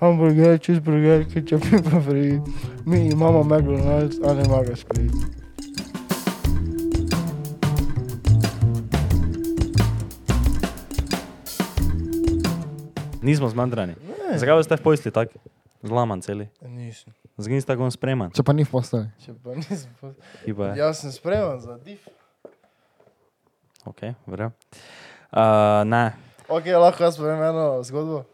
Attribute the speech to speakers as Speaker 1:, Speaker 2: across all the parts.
Speaker 1: hamburger, cheeseburger, ketchup, pepper free. Me and Mama McDonald's and Marcus, please.
Speaker 2: Nismo zmanjkani. Zakaj boste v pojsti tako zlaman celi?
Speaker 1: Nisem.
Speaker 2: Zakaj niste tako spreman?
Speaker 3: Če pa Ja. ni v posteli.
Speaker 1: Če pa nisem. pa-
Speaker 2: Kiba je.
Speaker 1: Jaz sem spreman za div.
Speaker 2: Okay, uh, ne.
Speaker 1: Ok, lahko jaz povem eno zgodbo.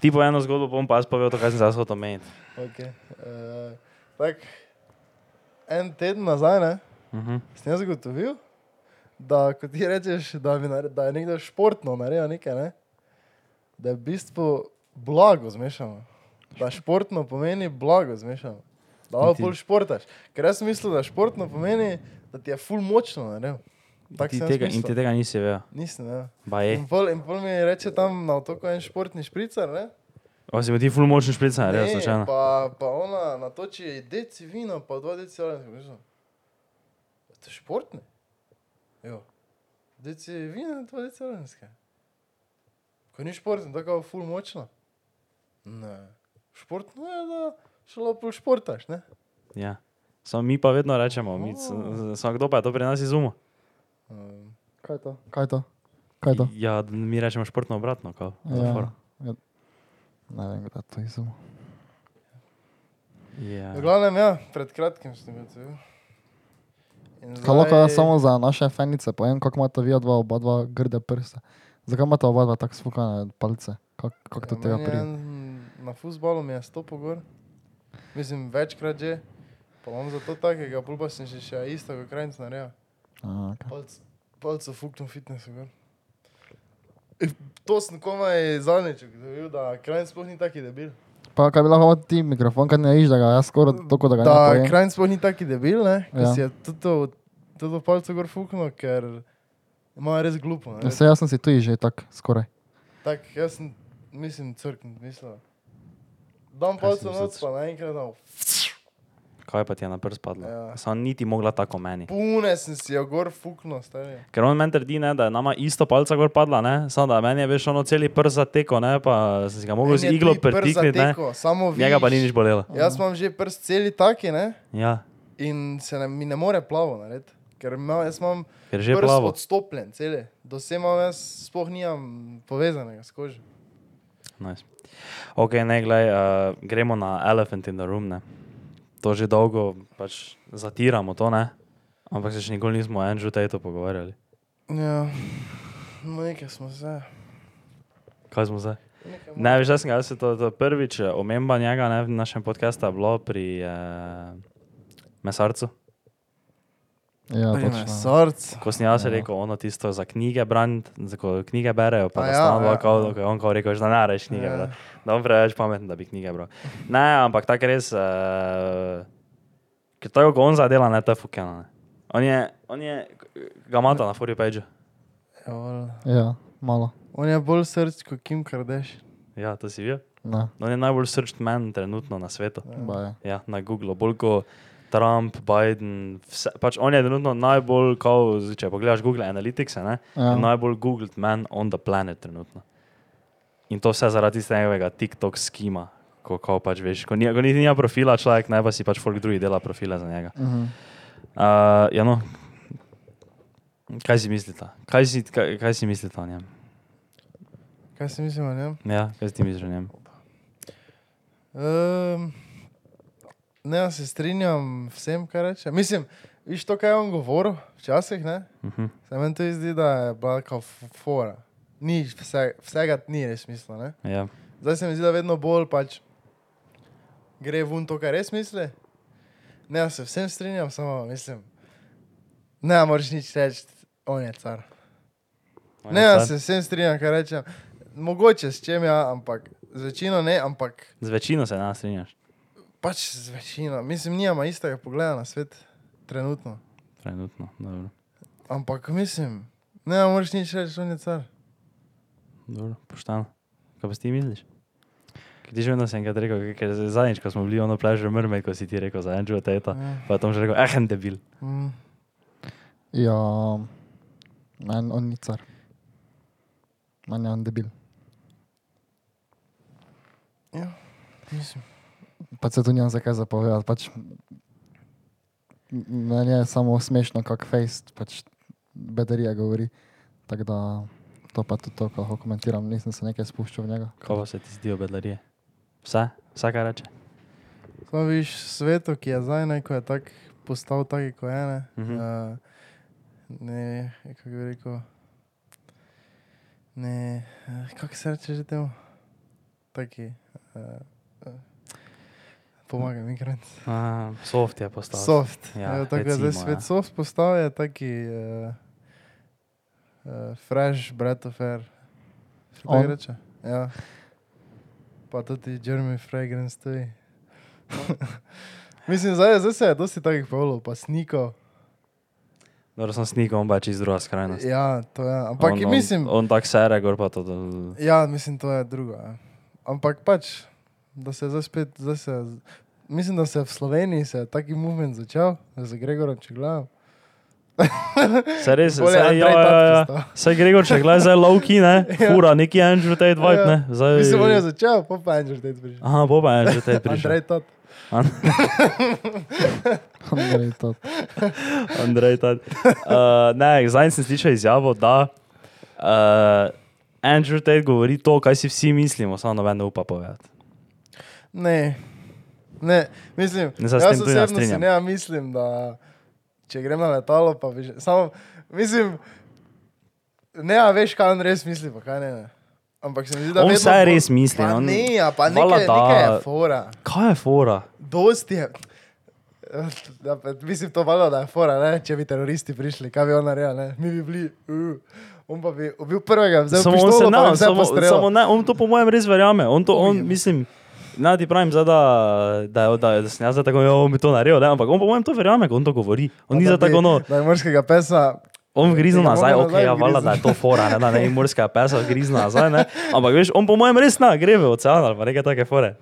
Speaker 2: Ti po eno zgodbo bom pa jaz povedal, to, kaj sem zase hotel omeniti.
Speaker 1: Okay. Uh, tak, en teden nazaj ne,
Speaker 2: Uh
Speaker 3: Mhm.
Speaker 2: -huh.
Speaker 1: sem jaz zagotovil, da ko ti rečeš, da, mi nare, da je nekdo športno naredil nekaj, ne, da je v bistvu blago zmešano. Da športno pomeni blago zmešano. Da lahko
Speaker 2: ti-
Speaker 1: bolj športaš. Ker jaz sem mislil, da športno pomeni, da ti je full močno naredil. Tako
Speaker 2: Ti
Speaker 1: sem jaz
Speaker 2: tega, in ti
Speaker 1: mislil.
Speaker 2: tega nisi vedel.
Speaker 1: Nisem, ne.
Speaker 2: Baje.
Speaker 3: Mhm.
Speaker 1: In pol, in pol mi reče tam na otoku en športni špricar, ne?
Speaker 2: O, si pa ti ful močen šprica, res slučajno.
Speaker 1: pa, pa ona natoči deci vina, pa dva deci alenka. To je športne? Jo. Deci vina, dva deci alenka. Ko ni športno, tako je ful močno. Ne. Športno je, da šlo pol športaš, ne?
Speaker 2: Ja. Samo mi pa vedno rečemo, mi, s-
Speaker 3: Oh.
Speaker 2: s- samo kdo pa je to pri nas izumil.
Speaker 1: Um,
Speaker 3: Kaj je to? Kaj je to? Kaj je to?
Speaker 2: Ja, d- mi rečemo športno obratno. Kao,
Speaker 3: Ja.
Speaker 2: ja.
Speaker 3: Ne vem, kdo to izum.
Speaker 2: Ja.
Speaker 1: v glavnem, ja, pred kratkim sem bil tu. In
Speaker 3: Kaj lahko
Speaker 1: zdaj-
Speaker 3: jaz samo za naše fenice povem, kako imate vi dva, oba dva grde prste. Zakaj imate oba dva tako spukane palce? Kako kak do
Speaker 1: Ja,
Speaker 3: tega
Speaker 1: meni je
Speaker 3: pride?
Speaker 1: en- hm, Na futbalu mi je stopil gor, mislim večkrat že, pa imam zato takega, pol pa sem še, še isto, kot krajnc nareja.
Speaker 3: A, okej.
Speaker 1: Palce fuknil fitness gor. In To sem komaj zadnjič ugotovil, da krajnc sploh ni taki debil.
Speaker 3: Pa kaj bi lahko imel ti mikrofon, kaj ne viš, da ga jaz skoraj tako, da ga ne
Speaker 1: Da
Speaker 3: povem.
Speaker 1: krajnc sploh ni taki debil, ne? Ko
Speaker 3: Ja.
Speaker 1: si je toto, toto palce gor fuknil, ker ima res glupo. Ne?
Speaker 3: Vse Ja, jaz sem si tu že tako skoraj.
Speaker 1: Tak, jaz sem, mislim, crknut, mislim. Dam
Speaker 2: Kaj si
Speaker 1: palce noc,
Speaker 2: mislil?
Speaker 1: pa naenkrat no, dam.
Speaker 2: Kaj pa ti je na prst padlo?
Speaker 1: Ja.
Speaker 2: Ja. Sam niti mogla tako meni.
Speaker 1: Pune sem si jo gor fuknil, stari.
Speaker 2: Ker on meni trdi, ne, da je nama isto palca gor padla, ne? samo da meni je veš ono celi prst zateko, ne? pa sem si ga mogel z
Speaker 1: Meni je
Speaker 2: iglo
Speaker 1: tudi prst
Speaker 2: pretikniti, ne?
Speaker 1: zatekel, Samo vi.
Speaker 2: njega pa ni nič bolelo.
Speaker 1: Jaz imam že prst celi taki, ne?
Speaker 2: Ja,
Speaker 1: In se ne, mi ne more plavo narediti. Ker ima, jaz imam
Speaker 2: ker že
Speaker 1: prst
Speaker 2: plavo.
Speaker 1: odstopljen, celi. Do sem imam jaz sploh nimam povezanega s kožo.
Speaker 2: Nice. Ok, ne, glej, uh, gremo na Elephant in the Room. Ne. To že dolgo pač zatiramo, to ne. Ampak se še nikoli nismo o Andrew Tateu pogovarjali.
Speaker 1: Ja, no nekaj smo se.
Speaker 2: Kaj smo zdaj?
Speaker 1: Nekaj
Speaker 2: Ne, veš, jaz sem ga jaz se to, to prvič eh, omemba njega ne, v našem podkastu je bilo pri eh, Mesarcu.
Speaker 3: Ja,
Speaker 1: Pri
Speaker 3: točno.
Speaker 1: Mesarcu.
Speaker 2: Ko sem jaz
Speaker 1: Ja.
Speaker 2: rekel, ono tisto za knjige brand, za ko knjige berejo, pa
Speaker 1: A
Speaker 2: da
Speaker 1: ja,
Speaker 2: stane
Speaker 1: ja,
Speaker 2: dva kao,
Speaker 1: ja.
Speaker 2: ko je on kao rekel, že da ne reš knjige,
Speaker 1: Ja.
Speaker 2: brat. da on preveč pameten, da bi knjige bral. Ne, ampak tak res, uh, ker tako ko on zadela, ne, to je fukena. Ne. On je, on je, ga mata na furi page.
Speaker 1: Ja, valjda.
Speaker 3: Ja, malo.
Speaker 1: On je bolj srč kot Kim Kardashian.
Speaker 2: Ja, to si videl.
Speaker 3: Ne,
Speaker 2: On je najbolj searched man trenutno na svetu.
Speaker 3: baje.
Speaker 2: Ja, na Google, bolj kot Trump, Biden, vse, pač on je trenutno najbolj, kao, z- če pogledaš Google Analytics, ne,
Speaker 3: Ja.
Speaker 2: ja. najbolj googled man on the planet trenutno. In to vse zaradi tistega TikTok skima, ko, ko pač veš, ko, ni, ko niti nima profila človek, ne pa si pač folk drugi dela profile za njega.
Speaker 3: Mhm.
Speaker 2: Uh, ja, no. Kaj si mislite? Kaj si, kaj, kaj si mislite o njem?
Speaker 1: Kaj si mislim o njem?
Speaker 2: Ja, kaj si ti misliš o njem?
Speaker 1: Um, ne, jaz se strinjam vsem, kar reče. Mislim, viš to, kaj je on govoril včasih, ne?
Speaker 2: Uh -huh.
Speaker 1: Se meni to zdi, da je bila kao f- fora. Ni, vse, vsega ni res smisla, ne?
Speaker 2: ja.
Speaker 1: Zdaj se mi zdi, da vedno bolj pač gre vun to, kar res misli. Ne, jaz se vsem strinjam, samo mislim, ne moreš nič reči, on je car. Ne, jaz se vsem strinjam, kar rečem. Mogoče s čem ja, ampak z večino ne, ampak
Speaker 2: Z večino se ne strinjaš,
Speaker 1: Pač z večino, mislim, nima istega pogleda na svet, trenutno.
Speaker 2: trenutno. Dobro.
Speaker 1: Ampak mislim, ne moreš nič reči, on je car.
Speaker 2: Dobro, pošteno. Kaj pa si ti misliš? Kaj ti že vedno sem enkrat rekel, ker z- zadnjič, ko smo bili ono plažo mrme, ko si ti rekel za Andrewa Teta,
Speaker 1: Ja.
Speaker 2: pa je Tom že rekel, eh, en debil.
Speaker 1: Mm.
Speaker 3: Ja, meni on ni car. Meni je on debil.
Speaker 1: Ja, mislim.
Speaker 3: Pa se tu nimam zakaj zapovedati. Pač, meni je samo smešno, kako face pač bedarija govori. Tako da to pa tudi to, kako komentiram, nisem se nekaj spuščal v njega.
Speaker 2: Kako se ti zdijo bedlarije? Vse, vsaka reče.
Speaker 1: Samo viš svetu, ki je zdaj, ne, ko je tak, postal taki, ko je. Ne,
Speaker 2: Mhm.
Speaker 1: uh, ne ja, kako bi rekel. Ne, eh, kako se reče že temu? Taki. Uh, uh, Pomaga mi, grant.
Speaker 2: A, soft je postal.
Speaker 1: Soft.
Speaker 2: Ja,
Speaker 1: Ja, tako je zdaj
Speaker 2: recimo,
Speaker 1: svet
Speaker 2: ja.
Speaker 1: soft postal, je taki uh, uh, fresh, brat of air. Kaj
Speaker 3: On.
Speaker 1: reče? Ja. Pa tudi Jeremy Fragrance tudi. Mislim, zdaj, zdaj se je dosti takih polov, pa snikov.
Speaker 2: Dobro, sem snikal, on pač iz druge skrajnosti.
Speaker 1: Ja, to je. Ampak
Speaker 2: on,
Speaker 1: on,
Speaker 2: on,
Speaker 1: mislim, on,
Speaker 2: On tak sere, gor pa to.
Speaker 1: on. ja, mislim, to je drugo. Ja. Ampak pač, da se zdaj spet, zdaj se, mislim, da se je v Sloveniji se je taki movement začel, z Gregorom Čiglavom.
Speaker 2: Se res,
Speaker 1: Bolje
Speaker 2: se
Speaker 1: Andrej
Speaker 2: ja, ja,
Speaker 1: Tat
Speaker 2: ja.
Speaker 1: postal.
Speaker 2: Se Gregor, če gledaj, zdaj lowkey, ne?
Speaker 1: Ja.
Speaker 2: Fura, neki Andrew Tate vibe,
Speaker 1: Ja.
Speaker 2: ne? Zdaj...
Speaker 1: Mislim, on je začel, pa pa Andrew Tate prišel.
Speaker 2: Aha, ja. Boba je Andrew Tate prišel.
Speaker 1: Andrej Tat.
Speaker 3: Andrej, to,
Speaker 2: Andrej, tad. Uh, ne, zdaj sem slišal izjavo, da uh, Andrew Tate govori to, kaj si vsi mislimo, samo noben ne upa povedati.
Speaker 1: Ne. ne, mislim,
Speaker 2: Ne, saj s
Speaker 1: jaz
Speaker 2: tem tudi ne
Speaker 1: osebno si
Speaker 2: strinjam.
Speaker 1: ne mislim, da če grem na letalo, pa bi že, samo, mislim, ne, a veš, kaj on res misli, pa kaj ne. ne. Ampak se mi zdi, da
Speaker 2: On
Speaker 1: vedno
Speaker 2: vse
Speaker 1: bolj-
Speaker 2: res misli,
Speaker 1: Pa
Speaker 2: on-
Speaker 1: ne, ja, pa
Speaker 2: Hvala,
Speaker 1: nekaj,
Speaker 2: da-
Speaker 1: nekaj je fora.
Speaker 2: Kaj je fora?
Speaker 1: Dosti je. Da, pa, mislim, to valjda, da je fora, ne? če bi teroristi prišli, kaj bi on naredil, ne? mi bi bili, uh, on pa bi ubil prvega, vzel
Speaker 2: Samo on
Speaker 1: pištolo, pa
Speaker 2: se
Speaker 1: bi
Speaker 2: ne,
Speaker 1: vse
Speaker 2: samo,
Speaker 1: postrelil.
Speaker 2: samo ne, on to po mojem res verjame. On to, on, mislim, ne, ti pravim, zdaj, da, da, da, da sem jaz zdaj tako, jo, on bi to naredil, ne, ampak on po mojem to verjame, ko on to govori. On
Speaker 1: Pa
Speaker 2: ni
Speaker 1: da
Speaker 2: za
Speaker 1: bi-
Speaker 2: tako, no,
Speaker 1: Da je morskega pesa.
Speaker 2: On grizno
Speaker 1: Tega
Speaker 2: nazaj,
Speaker 1: bomo
Speaker 2: ok,
Speaker 1: nazaj
Speaker 2: ja, valjda, da je to fora, ne, da ne morska pesa grizna nazaj, ne. Ampak veš, on po mojem res ne, gre v ocean ali pa neke take fore.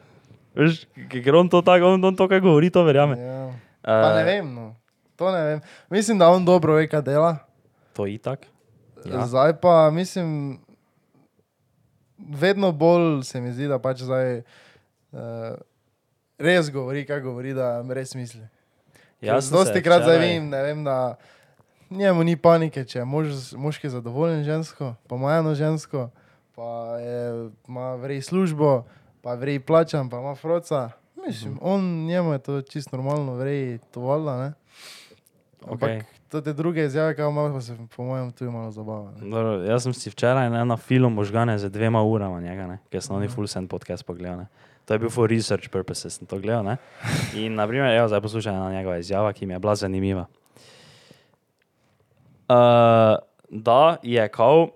Speaker 2: Veš, k- ker on to tako, on, on to, kaj govori, to verjame.
Speaker 1: Ja.
Speaker 2: Eh,
Speaker 1: Pa ne vem, no. to ne vem. Mislim, da on dobro ve, kaj dela.
Speaker 2: Eh, To itak. Ja.
Speaker 1: Ja. Zdaj pa mislim, vedno bolj se mi zdi, da pač zdaj uh, res govori, kaj govori, da res misli.
Speaker 2: Jaz sem se
Speaker 1: Dosti krat zdaj
Speaker 2: včeraj-
Speaker 1: vem, ne vem, da njemu ni panike, če je mož, z- moški zadovoljen z žensko, pa ima eno žensko, pa je, ima vrej službo, pa vrej plačan, pa ima froca.
Speaker 2: Mhm.
Speaker 1: Mislim, on njemu je to čisto normalno, vrej to valda, ne? Ampak
Speaker 2: Okej.
Speaker 1: okay. to te druge izjave, kaj ima, pa se po mojem tu malo zabava. ne.
Speaker 2: Dobro, jaz sem si včeraj ne, na filmu možgane za dvema urama njega, ne, ker sem oni full send podcast pogledal. Ne. To je bil for research purposes, sem to gledal. Ne. In naprimer, evo, zdaj poslušaj na njegova izjava, ki mi je bila zanimiva. Uh, da je kao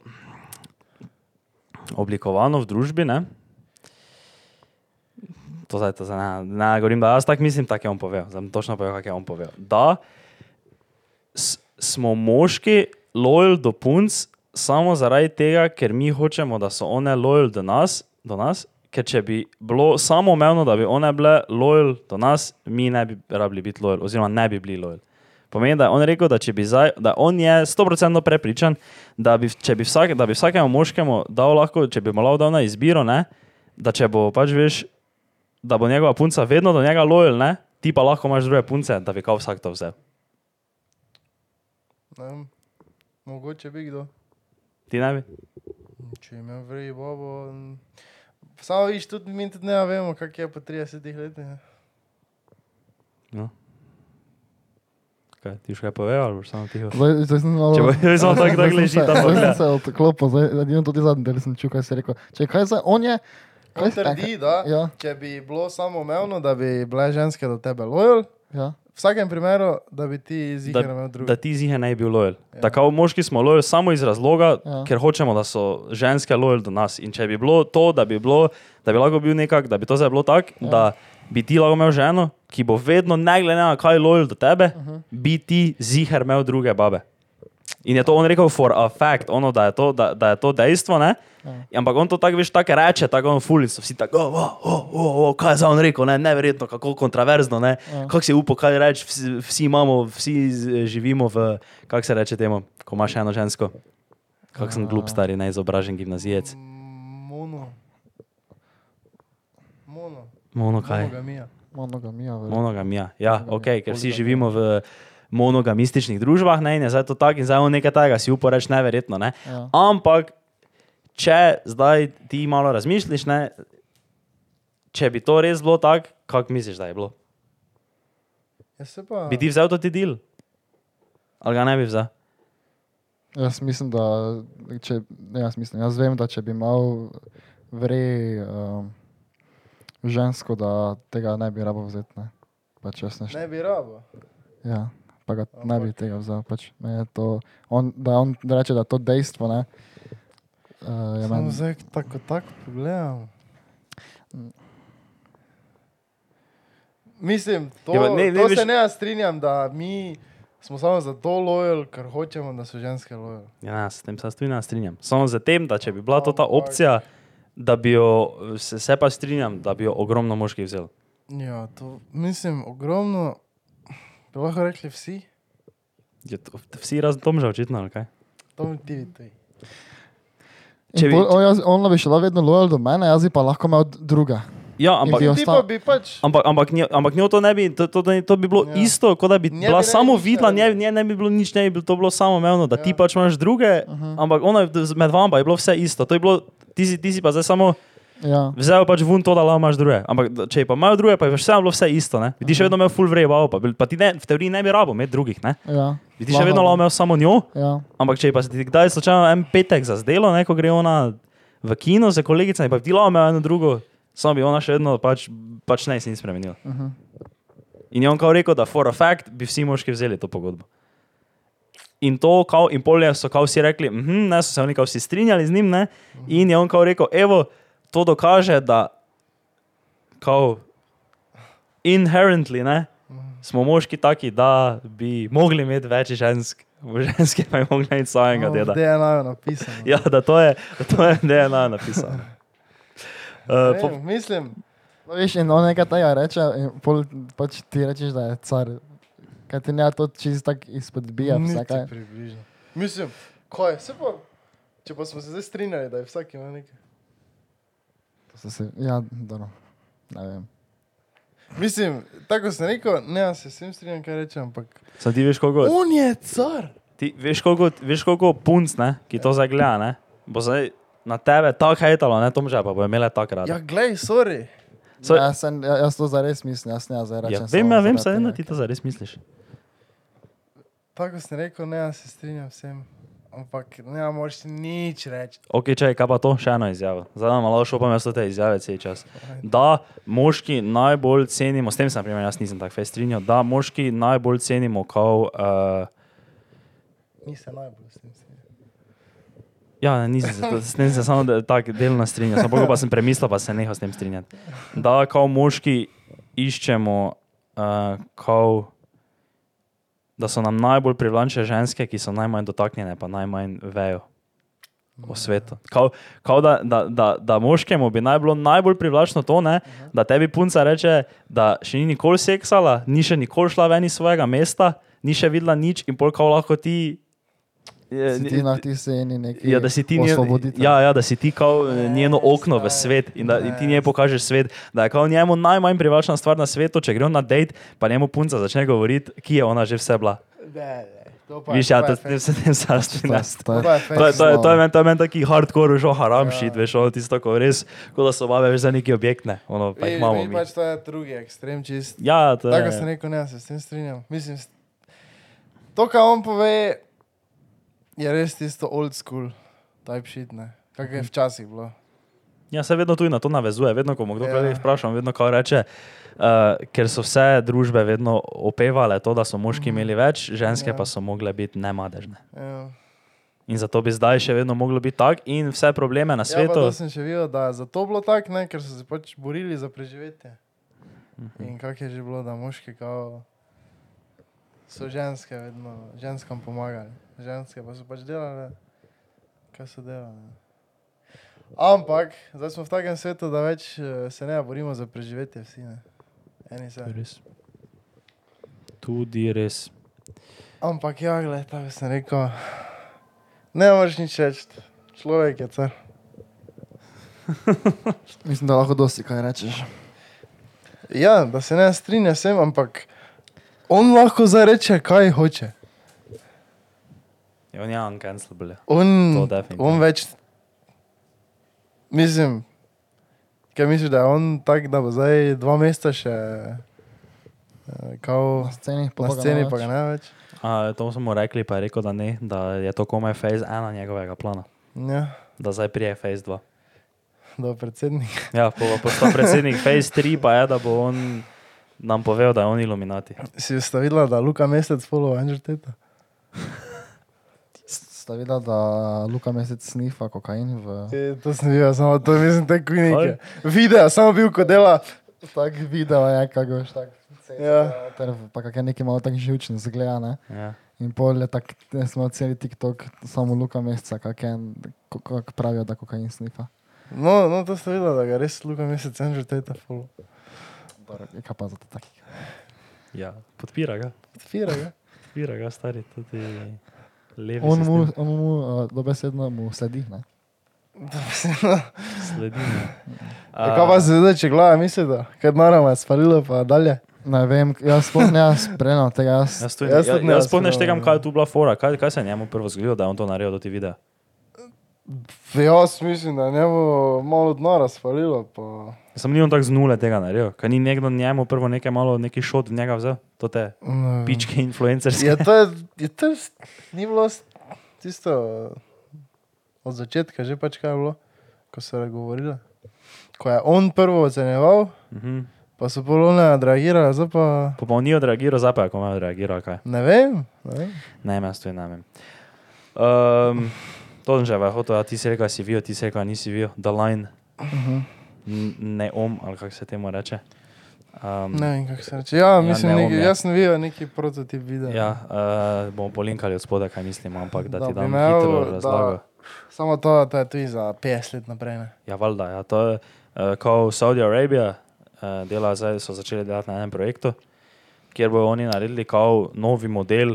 Speaker 2: oblikovano v družbi, ne? To zdaj, to zdaj ne, ne govorim, da jaz tako mislim, tako je on povedal, zdaj bom točno povedal, kako je on povedal. Da s- smo moški lojal do punc samo zaradi tega, ker mi hočemo, da so one lojal do nas, do nas, ker če bi bilo samo omejeno, da bi one bile lojal do nas, mi ne bi rabili biti lojal, oziroma ne bi bili lojal. Pomeni, da je on rekel, da, če bi zdaj, da on je 100% prepričan, da bi, če bi, vsak, da bi vsakemu moškemu dal lahko, če bi mu lahko dal na izbiro, ne, da če bo pač veš, da bo njegova punca vedno do njega lojal, ne, ti pa lahko imaš druge punce, da bi kao vsak to vzel.
Speaker 1: Ne vem, mogoče bi kdo.
Speaker 2: Ti ne bi?
Speaker 1: Če imam vrej bobo. n- Samo viš, tudi mi tudi ne vemo, kak je po 30 letih. ne.
Speaker 2: No. Kaj, ti še kaj povejo, ali boš samo tiho?
Speaker 3: zdaj, zdaj sem malo...
Speaker 2: Če bo jaz samo tako
Speaker 3: Zdaj
Speaker 2: tak
Speaker 3: sem
Speaker 2: leži
Speaker 3: se-
Speaker 2: tam,
Speaker 3: Zdaj sem
Speaker 2: gleda.
Speaker 3: No, se odklopil, zdaj edino tudi zadnji del sem čukal, si rekel. Če kaj za, on je...
Speaker 1: On
Speaker 3: si-
Speaker 1: trdi, da
Speaker 3: Ja,
Speaker 1: če bi bilo samo omejeno, da bi bile ženske do tebe lojal,
Speaker 3: ja.
Speaker 1: v vsakem primeru, da bi ti zihar imel
Speaker 2: Da
Speaker 1: drugo.
Speaker 2: ti zihe ne bi bil lojal.
Speaker 1: Ja.
Speaker 2: Tako moški smo lojal samo iz razloga,
Speaker 3: Ja.
Speaker 2: ker hočemo, da so ženske lojal do nas. In če bi bilo to, da bi, bilo, da bi lahko bil nekak, da bi to zdaj bilo tako,
Speaker 3: Ja.
Speaker 2: da bi ti lahko imel ženo, ki bo vedno, ne glede na kaj lojal do tebe,
Speaker 3: Mhm.
Speaker 2: bi ti ziher imel druge babe. In je to on rekel for a fact, ono, da, je to, da, da je to dejstvo. Ne?
Speaker 3: Ja.
Speaker 2: Ampak on to tako veš, tako reče, tako on fuli, so vsi tako, oh, oh, oh, oh, oh, kaj je za on rekel, ne? neverjetno, kako kontroverzno, ne?
Speaker 3: Ja.
Speaker 2: kako si upo, kaj reči, vsi, vsi imamo, vsi z- živimo v, kako se reče temu, ko imaš eno žensko. Kak sem glup, stari, neizobražen gimnazijec.
Speaker 1: Mono. Mono.
Speaker 2: Mono kaj?
Speaker 1: Monogamija.
Speaker 3: Monogamija, verjetno.
Speaker 2: Monogamija. Ja,
Speaker 3: Monogamija.
Speaker 2: ok, ker vsi živimo v monogamističnih družbah, ne, in je zdaj to tako in zdaj on nekaj takega si upo reči neverjetno. Ne.
Speaker 3: Ja.
Speaker 2: Ampak, če zdaj ti malo razmišljiš, ne, če bi to res bilo tako, kako misliš, da je bilo?
Speaker 1: Ja, se pa.
Speaker 2: Bi ti vzel to ti del? Ali ga ne bi vzel?
Speaker 3: Jaz mislim, da če, ne, jaz, mislim, jaz vem, da če bi imel vrej um, žensko, da tega ne bi rabo vzeti. Ne? Pač jaz ne, št-
Speaker 1: Ne bi rabo.
Speaker 3: ja, pa ga ne bi tega vzel. Pač meni je to, on, da on reče, da je to dejstvo. Ne, uh, je
Speaker 1: Samo
Speaker 3: meni,
Speaker 1: zdaj tako, tako pogledam. Mm. Mislim, to,
Speaker 2: Ja,
Speaker 1: ja,
Speaker 2: pa
Speaker 1: ne,
Speaker 2: ne- ne
Speaker 1: ne, to
Speaker 2: veš-
Speaker 1: se ne jaz strinjam, da mi smo samo zato lojal, ker hočemo, da so ženske lojal.
Speaker 2: Ja, ne, s tem se tudi ne strinjam. Samo z tem, da če bi bila to ta opcija, da bi jo, se, se pa strinjam, da bi jo ogromno moških vzel.
Speaker 1: Ja, to mislim, ogromno, bi lahko rekli vsi,
Speaker 2: Je to- Vsi razen Tomža, očitno, ali kaj?
Speaker 1: to mi ti ti.
Speaker 3: In
Speaker 2: če bi-
Speaker 3: pol on, jaz, ona bi šla vedno lojal do mene, jaz bi pa lahko imel d- druga.
Speaker 2: Ja, ampak
Speaker 3: Ti
Speaker 1: Ti pa
Speaker 3: osta-
Speaker 1: bi pač,
Speaker 2: Ampak, ampak, njo, ampak njo to ne bi, to, to, to, ni- to bi bilo ja.
Speaker 1: Ja.
Speaker 2: isto, kot da bi
Speaker 1: Nje
Speaker 2: bila
Speaker 1: bi ne bi
Speaker 2: samo
Speaker 1: nič
Speaker 2: videla, nje,
Speaker 1: naredila.
Speaker 2: nje ne bi bilo nič, ne bi bilo, to bilo samoumevno, da ja.
Speaker 1: Ja.
Speaker 2: ti pač imaš druge, uh -huh. ampak ona, je d- med vama pa je bilo vse isto. To je bilo, ti, si, ti si pa zdaj samo
Speaker 3: Ja.
Speaker 2: vzel pač vun to, da lahko imaš druge. Ampak da- če je pa imajo druge, pa je še vedno bilo vse isto. Ne? Bi Ti še vedno imel full vrejval, pa, bil- pa ti ne, v teoriji ne bi rabo imel drugih. Ne?
Speaker 3: Ja,
Speaker 2: Bi Ti še vedno lahko imel samo njo,
Speaker 3: Ja,
Speaker 2: ampak če je pa se ti kdaj slučajno en petek zazdelo, ne, ko gre ona v kino za kolegicami, pa bi ti lahko imel eno drugo, samo bi ona še vedno pač, pač ne se ni spremenila.
Speaker 3: uh -huh.
Speaker 2: In je on kao rekel, da for a fact bi vsi moški vzeli to pogodbo. In to, kao, in polje so kao vsi rekli, mhm, ne so se oni kao vsi strinjali z njim, ne? in je on kao rekel, evo, to dokaže, da kao inherently, ne, smo moški taki, da bi mogli imeti več žensk, ženske pa je mogli imeti samega deda.
Speaker 1: Da je naj napisano.
Speaker 2: Ja, da to je, da to je DNA napisano. Uh,
Speaker 1: Ne
Speaker 2: po,
Speaker 1: vem, mislim,
Speaker 3: No, veš, in on nekaj tega reče, in pol, pač ti rečeš, da je car. Kaj ti ne to čisto tako izpodbija, vse
Speaker 1: niti
Speaker 3: kaj.
Speaker 1: približno. Mislim, kaj, se pa, če pa smo se zdaj strinjali, da je vsak ima nekaj.
Speaker 3: To so Se, ja, dobro. Ne vem.
Speaker 1: Mislim, tako sem rekel, ne, jaz se s tem strinjam, kaj rečem, ampak.
Speaker 2: sam ti veš, koliko je.
Speaker 1: On je car!
Speaker 2: Ti veš, koliko, veš, koliko punc, ne, ki to zdaj gleda, ne, bo zdaj na tebe tako hejtalo, ne, Tomža, pa bo imela tako rada.
Speaker 1: Ja, glej, sorry.
Speaker 2: So-
Speaker 3: So, ja, sen, ja, jaz to zares mislim, jaz ne zares
Speaker 2: ja,
Speaker 3: rečem.
Speaker 2: vem,
Speaker 3: samo
Speaker 2: ja, vem,
Speaker 3: zaradi
Speaker 2: se eno
Speaker 3: tega,
Speaker 2: ti to
Speaker 3: ker-
Speaker 2: zares misliš.
Speaker 1: Tako sem rekel, ne, jaz se strinjam vsem. Ampak ne moreš nič reči.
Speaker 2: Ok, če je kaj pa to, še ena izjava. Zdaj nam malo šopam, jaz to te izjave cel čas. Da moški najbolj cenimo, s tem sem, na primer, jaz nisem tako festrinjal, da moški najbolj cenimo, kao, uh,
Speaker 1: Nisem najbolj s tem strinjal.
Speaker 2: ja, ne, nisem se, to- s tem se samo da- tako delno strinjal, sem, pa sem premislil, pa se nehal s tem strinjati. Da kao moški iščemo, uh, kao, da so nam najbolj privlačne ženske, ki so najmanj dotaknjene, pa najmanj vejo o svetu. Kao, kao da, da, da, da moškemu bi naj bilo najbolj privlačno to, ne, da tebi punca reče, da še ni nikoli seksala, ni še nikoli šla ven iz svojega mesta, ni še videla nič in pol kao lahko ti. eh, je,
Speaker 3: Si
Speaker 2: ni-
Speaker 3: Ti na ti seni neki.
Speaker 2: Ja, da si ti njen,
Speaker 3: osvoboditelj.
Speaker 2: ja, ja, da si ti kao ne,
Speaker 1: Ne,
Speaker 2: njeno okno v
Speaker 1: stari,
Speaker 2: svet in da in ti
Speaker 1: ne.
Speaker 2: njej pokažeš svet, da je kao njemu najmanj privlačna stvar na svetu, če gre on na dejt, pa njemu punca začne govoriti, ki je ona že vse bila.
Speaker 1: Ne, ne, to pa je.
Speaker 2: Viš, ja,
Speaker 1: to je
Speaker 2: to s tem
Speaker 1: fest.
Speaker 2: se tem sastrinjam.
Speaker 3: To je- no.
Speaker 1: To je Ja.
Speaker 2: To je, to, je, to, je
Speaker 3: Slabo.
Speaker 2: meni, to je meni taki hardcore, že haram šit, veš, ono tisto, ko res, kot da so babe veš za neki objekt, ne, ono pa
Speaker 1: Vi-
Speaker 2: jih imamo.
Speaker 1: vi
Speaker 2: Mi.
Speaker 1: Pač to je drugi ekstrem čist.
Speaker 2: Ja, to
Speaker 1: Tako sem
Speaker 2: je.
Speaker 1: rekel, ne, jaz se s tem strinjam. Mislim, s- to, kar on pove, je res tisto old school, type shit, ne. Kako je včasih bilo.
Speaker 2: Ja, se vedno tudi na to navezuje, vedno, ko mu kdo
Speaker 1: Ja.
Speaker 2: ja. vprašam, vedno kao reče, uh, ker so vse družbe vedno opevale to, da so moški imeli več, ženske ja.
Speaker 1: Ja.
Speaker 2: pa so mogle biti nemadežne.
Speaker 1: Ja.
Speaker 2: In zato bi zdaj še vedno moglo biti tako in vse probleme na
Speaker 1: Ja, pa to
Speaker 2: svetu.
Speaker 1: sem še videl, da je zato bilo tako, ne, ker so se pač borili za preživetje. In kako je že bilo, da moški kao, so ženske vedno ženskam pomagali, ženske pa so pač delale, kaj so delale. Ampak zdaj smo v takem svetu, da več eh, se ne borimo za preživetje, vsi ne. Eni se.
Speaker 2: Res. Tudi res.
Speaker 1: Ampak ja, gled, tako sem rekel, ne moreš nič reči, človek je car.
Speaker 3: Mislim, da lahko dosti kaj rečeš.
Speaker 1: Ja, da se ne strinja sem, ampak on lahko zdaj reče, kaj hoče.
Speaker 2: Ja, on je uncancelable.
Speaker 1: On,
Speaker 2: To definitivno.
Speaker 1: on več. Mislim, kaj misliš, da je on tak, da bo zdaj dva mesta še eh, kao,
Speaker 3: Na sceni,
Speaker 1: na
Speaker 3: pa no. pa ga
Speaker 1: sceni,
Speaker 3: ne
Speaker 1: pa
Speaker 3: več.
Speaker 1: ga ne več.
Speaker 2: A, to smo mu rekli, pa je rekel, da ne, da je to komaj phase ena njegovega plana,
Speaker 1: Ja,
Speaker 2: da zdaj prije phase 2.
Speaker 1: da je predsednik.
Speaker 2: Ja, pa bo postal predsednik phase 3, pa je, da bo on nam povedal, da je on iluminati.
Speaker 1: Si ustavila, da Luka Mesec follow Andrew Teta?
Speaker 3: Sta videla, da Luka Mesec snifa kokain v
Speaker 1: E, to sem videl, samo to mislim, te
Speaker 2: Kaj?
Speaker 1: kvinike. Video, samo bil, ko dela.
Speaker 3: tak video, je, kako veš, tak.
Speaker 1: Ja.
Speaker 3: Ter, pa kak je neki malo tak živčen zgleda, ne?
Speaker 2: Ja.
Speaker 3: In pol je tak, ne smo celi TikTok, samo Luka Meseca, kak je, kako pravijo, da kokain snifa.
Speaker 1: No, no, to ste videli, da ga res Luka Mesec Andrew Teta follow.
Speaker 3: Dobro, Kaj pa za to tak?
Speaker 2: ja, podpira ga,
Speaker 1: Odpira ga.
Speaker 2: podpira ga, stari tudi levi.
Speaker 3: On mu,
Speaker 2: sistem
Speaker 3: on mu uh, dobesedno mu sledi, ne?
Speaker 1: no.
Speaker 2: sledi.
Speaker 1: Ja, Kaj pa se zdaj, če glava mislite, kaj narava je sparila, pa dalje.
Speaker 3: Ne vem, jaz sploh ne jaz spremljam tega, jaz
Speaker 2: Jaz, tudi,
Speaker 1: Jaz
Speaker 2: jaz,
Speaker 1: tudi
Speaker 2: jaz,
Speaker 1: ne,
Speaker 2: Ja, jaz sploh ne
Speaker 1: jaz tudi
Speaker 2: štegam,
Speaker 1: ne.
Speaker 2: kaj je tu bila fora, kaj, kaj se je njemu prvo zgodilo, da je on to naredil do ti videa.
Speaker 1: Jaz mislim, da ne bo malo dna razparilo. Pa...
Speaker 2: Sam ni on tako z nule tega naredil, kaj ni nekdo njemu prvo nekaj malo, neki šot od njega vzel, to te
Speaker 1: Ne vem.
Speaker 2: pičke influencerske.
Speaker 1: Je Ja, to, je to, s- ni bilo s- tisto eh, od začetka, že pač kaj je bilo, ko so govorili. Ko je on prvo ocenjeval,
Speaker 2: Mhm.
Speaker 1: pa so polone reagirali, zdaj pa
Speaker 2: Pa pa on ni odreagiral, zdaj pa je komaj odreagiral, kaj.
Speaker 1: ne vem. Ne vem.
Speaker 2: Ne, jaz to ne vem. Um, to že je hotel, a ti si rekel, da si vijo, ti si rekel, da nisi vijo, da line,
Speaker 1: Mhm.
Speaker 2: N- ne om, ali kako se temu reče. Um,
Speaker 1: Ne vem, kako se reče. Ja, mislim, ja,
Speaker 2: ne bom,
Speaker 1: neki,
Speaker 2: ja.
Speaker 1: jaz sem videl neki prototip videa.
Speaker 2: Ja, uh, bomo polinkali od spoda, kaj mislimo, ampak
Speaker 1: Da
Speaker 2: da, da ti
Speaker 1: bi
Speaker 2: dam
Speaker 1: imel,
Speaker 2: hitro
Speaker 1: da-
Speaker 2: razlago. Da.
Speaker 1: Samo to, da je tu za 50 let naprej. Ne?
Speaker 2: Ja, valjda, ja, to je uh, kot Saudi Arabija, uh, dela zdaj, so začeli delati na enem projektu, kjer bodo oni naredili kao novi model,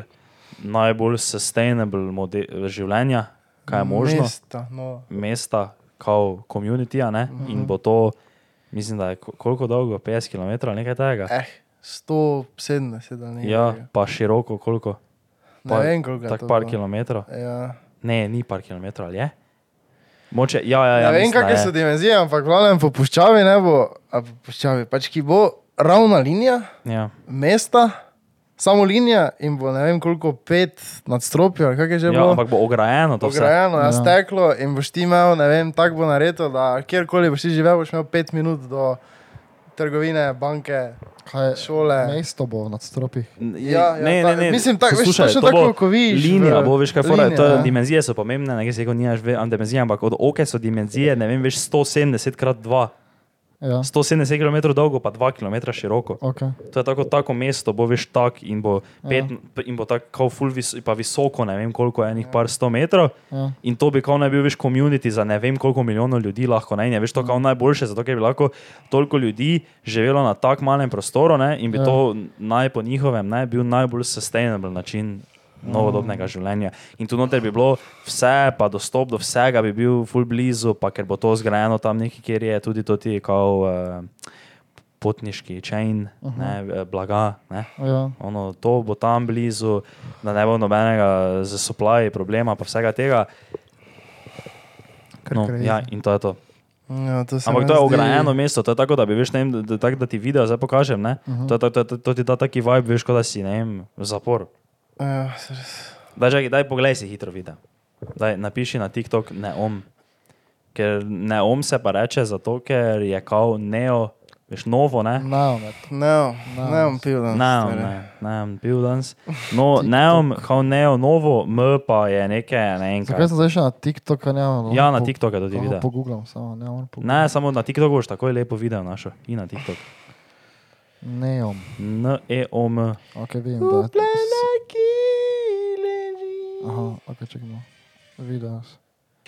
Speaker 2: najbolj sustainable model življenja, kaj je možno.
Speaker 1: Mesta, no.
Speaker 2: mesta, kot komunitija, ne?
Speaker 1: Mhm.
Speaker 2: Mm -hmm. in bo to, mislim, da je ko- koliko dolgo, 50 km ali nekaj takega.
Speaker 1: Eh, 170 ali nekaj.
Speaker 2: Ja,
Speaker 1: takega.
Speaker 2: pa široko, koliko,
Speaker 1: ne
Speaker 2: pa-
Speaker 1: vem, koliko je to
Speaker 2: tako par
Speaker 1: bilo.
Speaker 2: kilometrov.
Speaker 1: Ja.
Speaker 2: Ne, ni par kilometrov, ali je. Moče, ja, ja,
Speaker 1: Ja,
Speaker 2: ja,
Speaker 1: ne vem,
Speaker 2: mislim, da
Speaker 1: kakšne
Speaker 2: je.
Speaker 1: so dimenzije, ampak glavno po puščavi ne bo, a po puščavi pač ki bo ravna linija,
Speaker 2: Ja,
Speaker 1: mesta, samo linija in bo ne vem koliko pet nadstropij ali kaj je že
Speaker 2: ja,
Speaker 1: bilo.
Speaker 2: ampak bo ograjeno to vse.
Speaker 1: Pograjeno je
Speaker 3: Ja.
Speaker 1: steklo in boš ti imel, ne vem, tako bo naredil, da kjerkoli boš ti živel, boš imel pet minut do trgovine, banke,
Speaker 3: Kaj,
Speaker 1: Šole.
Speaker 3: Mesto bo v nadstropih.
Speaker 2: N-
Speaker 1: Ja, ja,
Speaker 2: ne,
Speaker 1: ta-
Speaker 2: ne, ne.
Speaker 1: mislim, tako, veš,
Speaker 2: poslušaj,
Speaker 1: točno
Speaker 2: to
Speaker 1: tako,
Speaker 2: bo
Speaker 1: ko vidiš
Speaker 2: Linija,
Speaker 1: v-
Speaker 2: bo veš, kaj fora,
Speaker 1: linija,
Speaker 2: to je,
Speaker 1: ja.
Speaker 2: dimenzije so pomembne, nekaj se rekel, nimaš ve, am dimenzije, ampak od oke so dimenzije, ne vem, veš, 170 krat 2,
Speaker 3: Ja,
Speaker 2: 170 km dolgo, pa 2 km široko.
Speaker 3: ok.
Speaker 2: To je tako, tako mesto, bo veš tak in bo, pet, in bo tako kao ful vis, pa visoko, ne vem koliko, enih par sto metrov.
Speaker 3: Ja.
Speaker 2: In to bi kao naj bil veš komunity za ne vem koliko milijonov ljudi lahko naj ne. Veš to kao najboljše, zato ker bi lahko toliko ljudi živelo na tak malem prostoru ne, in bi
Speaker 3: Ja.
Speaker 2: ja. to naj po njihovem ne bil najbolj sustainable način. Novodobnega življenja. In tu noter bi bilo vse, pa dostop do vsega bi bil ful blizu, pa ker bo to zgrajeno tam nekje, kjer je tudi to ti, kot uh, potniški čajn, uh -huh. blaga. Ne.
Speaker 3: Ja.
Speaker 2: Ono, to bo tam blizu, da ne bo nobenega z supply problema, pa vsega tega.
Speaker 3: Kar
Speaker 2: No,
Speaker 3: crazy.
Speaker 2: ja, in to je to.
Speaker 1: Ja, to se
Speaker 2: Ampak
Speaker 1: mi
Speaker 2: to je
Speaker 1: zdi-
Speaker 2: ograjeno mesto, to je tako, da bi veš, ne vem, da, da, tako, da ti video zdaj pokažem. ne.
Speaker 1: Mhm.
Speaker 2: To, je tako- to, je- to, to ti da taki vibe, veš, kot da si ne vem, v zaporu.
Speaker 1: Ja, se res.
Speaker 2: Daj, čakaj, daj poglej si hitro video. Daj, napiši na TikTok neom. Ker neom se pa reče zato, ker je kao neo, veš, novo, ne?
Speaker 3: Na omet.
Speaker 1: Ne,
Speaker 3: Ne,
Speaker 1: ne bom pil danes.
Speaker 2: Neom,
Speaker 1: stvari.
Speaker 2: ne, neom, bil danes. No, neom, kao neo, novo, m pa je neke, ne vem
Speaker 3: Zakaj
Speaker 2: kaj.
Speaker 3: sem zdaj še na TikToku? Ne, vem,
Speaker 2: Ja,
Speaker 3: lahko
Speaker 2: na
Speaker 3: po-
Speaker 2: TikToku tudi
Speaker 3: lahko
Speaker 2: video.
Speaker 3: Pogooglam, samo ne moram pogledati.
Speaker 2: Ne, samo na TikToku boš takoj lepo video našel. In na TikTok. E
Speaker 3: Neom.
Speaker 2: N-E-O-M.
Speaker 3: Ok, vidim, da je to. Aha,
Speaker 1: Aha.
Speaker 3: ok, čekamo. Video.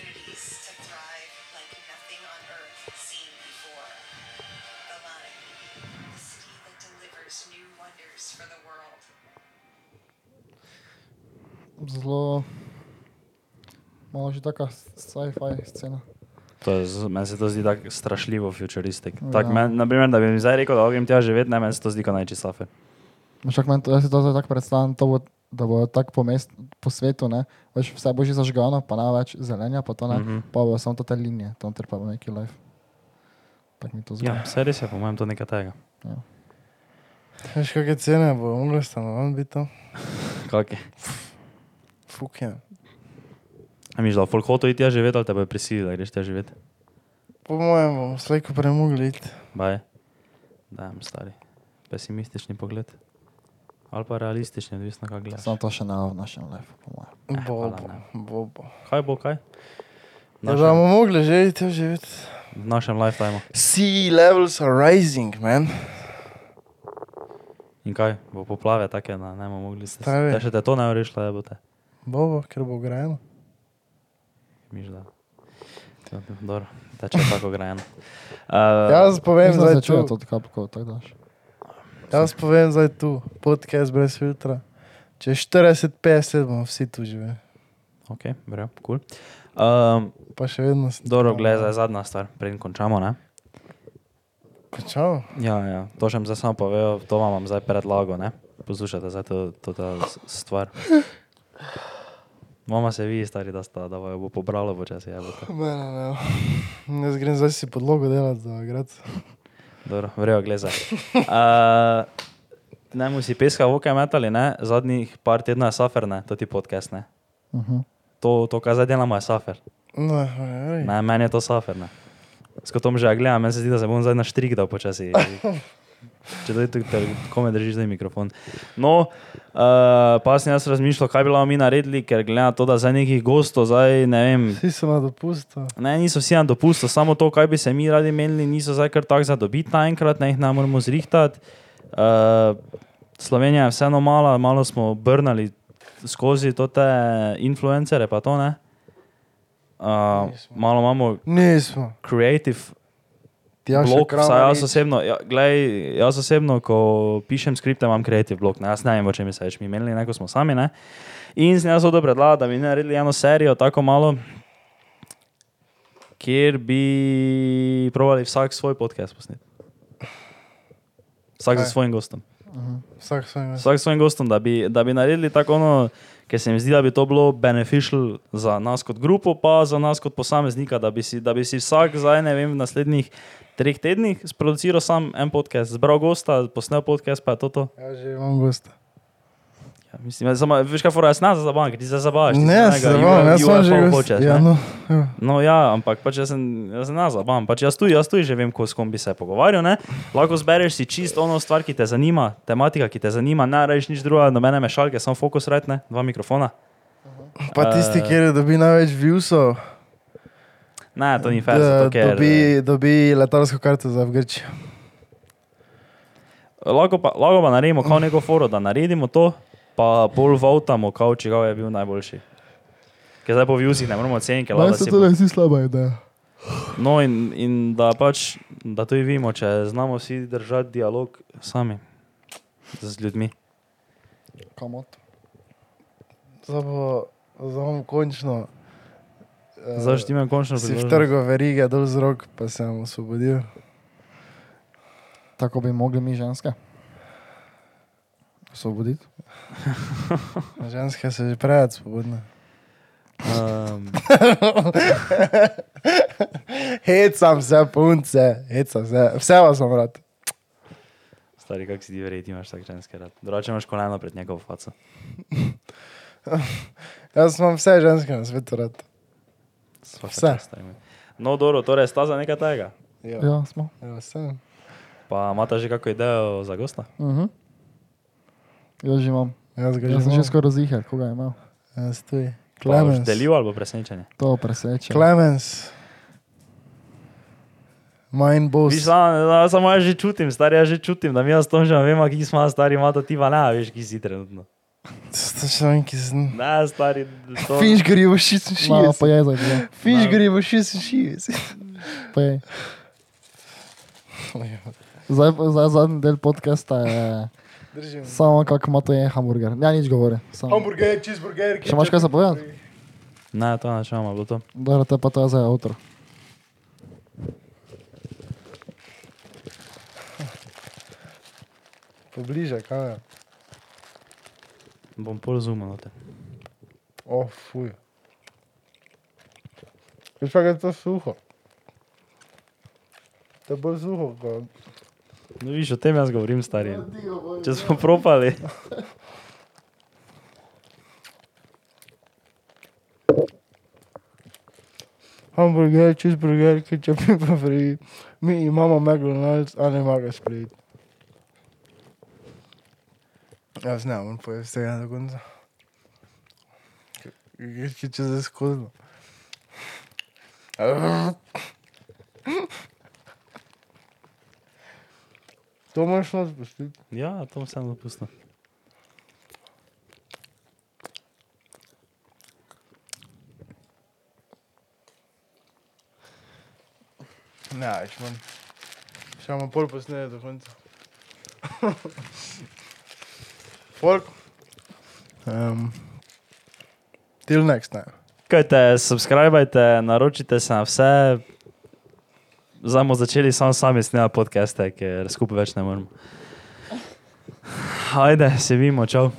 Speaker 4: to thrive like nothing on earth seen before. The Line, the city that delivers new wonders for the world.
Speaker 3: Zelo... Malo že taka sci-fi scena.
Speaker 2: To je, z- meni se to zdi tako strašljivo, futuristik.
Speaker 3: Ja.
Speaker 2: Tak, men, naprimer, da bi mi zdaj rekel, da grem tja živeti, ne, meni se to zdi kot najči slafe.
Speaker 3: Ampak No, meni to, jaz si to zdaj tako predstavljam, to bo, da bo tako po, mest, po svetu, ne, veš, vse bo že zažgano, pa ne več zelenja, pa to ne,
Speaker 2: Mhm.
Speaker 3: pa bo samo to te linije, tam ter pa bo neki life. Tako mi to Ja. zgleda.
Speaker 2: Ja, vse res je, po mojem, to nekaj tega.
Speaker 1: Veš, kakšne cene bo umrl stanovanj biti tam?
Speaker 2: Kak je?
Speaker 1: Fuk je.
Speaker 2: A mi žal, folk hoče iti tja živeti, ali te bojo prisilili, da greš tja živeti?
Speaker 1: Po mojem bomo slejko premogli iti.
Speaker 2: Baje. Dajem stari. Pesimistični pogled. Ali pa realistični, odvisno kako gledaš.
Speaker 3: Samo to še ne v našem life, po mojem.
Speaker 2: Eh, hvala,
Speaker 1: Bobo,
Speaker 2: ne.
Speaker 1: bobo.
Speaker 2: Kaj bo, kaj? V
Speaker 1: Da
Speaker 2: našem,
Speaker 1: bomo mogli že iti živeti.
Speaker 2: v našem lifetimu.
Speaker 1: Sea levels are rising, man.
Speaker 2: In kaj, bo poplave take, da ne bomo mogli se
Speaker 1: Stari.
Speaker 2: spomniti. Še te to ne rešila, da bo te.
Speaker 1: Bobo, ker bo grajeno.
Speaker 2: Miš da. To je Dobro, teče tako grajeno.
Speaker 1: Uh,
Speaker 2: Uh,
Speaker 1: jaz povem
Speaker 3: Mislim, da
Speaker 1: zdaj
Speaker 3: se čuje
Speaker 1: tu.
Speaker 3: to od kapkov, tako daš.
Speaker 1: Jaz povem zdaj tu. Podcast brez filtra. Čez 40-50 bomo vsi tu živeli.
Speaker 2: Ok, verjamem, kul. Cool. Um,
Speaker 1: Pa še vedno sem.
Speaker 2: dobro, gledaj, zdaj zadnja stvar, preden končamo, ne?
Speaker 1: Končal.
Speaker 2: Ja, ja, to še mi zdaj samo povejo, to vam bom zdaj predlago, ne? Poslušajte zdaj to, to ta s- stvar. Mama se vidi, stari, da, sta, da vaju bo pobralo počasi, je bo to.
Speaker 1: Mene ne. Jaz grem zdaj si podlogo delati za grad.
Speaker 2: Dobro, vrejo, gleza. Uh, ne mu si peska v oke metali, ne? Zadnjih par tedna je safer, ne? To ti podcast, ne?
Speaker 3: Uh -huh.
Speaker 2: To, to kar zdaj delamo, je safer.
Speaker 1: No, ej.
Speaker 2: Ne, meni je to safer, ne. S kotom že ja gledam, meni se zdi, da se bom zdaj na štrik dal počasi. Če tudi tu, ter- kome držiš zdaj mikrofon. No, uh, pa sem jaz razmišljal, kaj bi lahko mi naredili, ker gleda to, da zdaj nekih gostov, zdaj ne vem.
Speaker 1: Vsi so na dopustu.
Speaker 2: Ne, niso vsi na dopustu, samo to, kaj bi se mi radi menili, niso zdaj kar tako zadobiti naenkrat, ne jih ne moramo zrihtati. Uh, Slovenija je vseeno mala, malo smo brnali skozi to te influencere, pa to ne. Uh,
Speaker 1: Nismo.
Speaker 2: malo imamo
Speaker 1: Nismo.
Speaker 2: creative
Speaker 1: Tjaša
Speaker 2: blok, vsaj
Speaker 1: Kramarič.
Speaker 2: jaz osebno, ja, glej, jaz osebno, ko pišem skripte, imam creative blok, ne, jaz ne vem, o čem se več mi menili, neko smo sami, ne. In sem jaz to predlagal, da bi naredili eno serijo, tako malo, kjer bi provali vsak svoj podcast posnet. Vsak
Speaker 1: Kaj?
Speaker 2: za svojim gostom.
Speaker 1: Vsak svoj mes.
Speaker 2: Vsak s svojim gostom, da bi, da bi naredili tako ono, ker se mi zdi, da bi to bilo beneficial za nas kot grupo, pa za nas kot posameznika, da bi si, da bi si vsak zdaj, ne vem, v naslednjih treh tednih sproduciral sam en podcast, zbral gosta, posnel podcast, pa je to. to.
Speaker 1: Ja, že imam gosta.
Speaker 2: Ja, mislim, jaz samo, veš, kaj fora, jaz ne za zabavam, ker ti se zabavaš. ti se
Speaker 1: Ne,
Speaker 2: enega
Speaker 1: se bom,
Speaker 2: UFO
Speaker 1: jaz sem že
Speaker 2: hočeš,
Speaker 1: gost. Ja,
Speaker 2: ne.
Speaker 1: no. ja.
Speaker 2: No, ja, ampak pač jaz, sem- jaz ne zabavam, pač jaz tu, jaz tu že vem, ko, s kom bi se pogovarjal. Ne? Lahko zbereš si čisto ono stvar, ki te zanima, tematika, ki te zanima, ne rečeš nič drugega, nobene mešalke, samo fokus rajtne, dva mikrofona.
Speaker 1: Pa tisti,
Speaker 2: Eh.
Speaker 1: kjer dobi največ viewsov,
Speaker 2: Ne, to ja. ni fair,
Speaker 1: da
Speaker 2: zato ker. eh,
Speaker 1: dobi, dobi letalsko karto za v Grčijo.
Speaker 2: Lahko pa, lahko pa naredimo kao neko foro, da naredimo to, pa bolj votamo, kao čigav je bil najboljši. Ker zdaj po viewsih ne moremo oceniti, ker
Speaker 3: Meni
Speaker 2: lahko
Speaker 3: se
Speaker 2: Ja, si...
Speaker 3: to ne zdi slaba ideja.
Speaker 2: No in, in da pač, da to vidimo, če znamo vsi držati dialog sami z ljudmi.
Speaker 3: Kamot.
Speaker 1: Zdaj bo, zdaj bom končno. eh,
Speaker 2: Zašto imam končno
Speaker 1: Si
Speaker 2: priložnost?
Speaker 1: vtrgal verige dol z rok, pa sem osvobodil.
Speaker 3: Tako bi mogli mi ženske. Osvoboditi.
Speaker 1: Ženske so že preveč svobodne.
Speaker 2: Um,
Speaker 1: Hecam se, punce, hecam se, vse vas sem rad.
Speaker 2: stari, kak si ti verjeti, imaš tak ženski rad. Drugače imaš koleno pred njegovo faco.
Speaker 1: Jaz imam vse ženske na svetu rad.
Speaker 2: Svaka
Speaker 1: Vse.
Speaker 2: čast, stari moj. No, dobro, torej sta za nekaj tega.
Speaker 1: Ja,
Speaker 3: Ja, smo.
Speaker 1: ja sem.
Speaker 2: Pa imata že kako idejo za gosta?
Speaker 3: Mhm. Jaz že imam.
Speaker 1: Jaz ga že
Speaker 3: Jaz sem že
Speaker 1: imam.
Speaker 3: skoraj zihar, koga je imel.
Speaker 1: Jaz tudi.
Speaker 2: Pa boš
Speaker 1: Klemens.
Speaker 2: Delil ali bo presenečenje?
Speaker 3: To preseče.
Speaker 1: Klemens. Mine boss.
Speaker 2: Viš, samo, da- samo jaz že čutim, star jaz že čutim, da mi jaz to že vemo, ki smo stari, ima to ti pa ne, veš, ki si trenutno.
Speaker 1: Stašanki sem.
Speaker 2: Ne, stari, to,
Speaker 1: Fiš gori v 66.
Speaker 3: Malo pojej za to.
Speaker 1: Fiš gori v 66.
Speaker 3: Pojej. Zdaj, zdaj zadnji del podcasta je
Speaker 1: Držim.
Speaker 3: samo kako ima to je hamburger. Ja, nič govori. Samo.
Speaker 1: Hamburger, cheeseburger.
Speaker 3: Še imaš kaj za povedati?
Speaker 2: ne, to načeloma bilo to.
Speaker 3: Dobro, te pa to je zdaj outro.
Speaker 1: Pobliže, kaj je?
Speaker 2: Bom pol zumal na te.
Speaker 1: O, oh, fuj. Veš pa, kaj je to suho. To je bolj suho, kot
Speaker 2: No, viš, o tem jaz govorim, stari. Če smo propali.
Speaker 1: hamburger, cheeseburger, ketchup in paprika. Mi imamo McDonald's, a ne magaš priti. Jaz ne morem pojesti tega do konca. Ki če se skozno. To moraš nas pustiti.
Speaker 2: Ja, to sem dopustil.
Speaker 1: Ne, več manj.
Speaker 5: Še imamo pol posnete do konca. Folk.
Speaker 1: Um, till next time.
Speaker 2: Kajte, subskrbajte, naročite se na vse. Zdaj bomo začeli sam sami snemati podcaste, ker skupaj več ne moremo. Ajde, se vidimo, čau.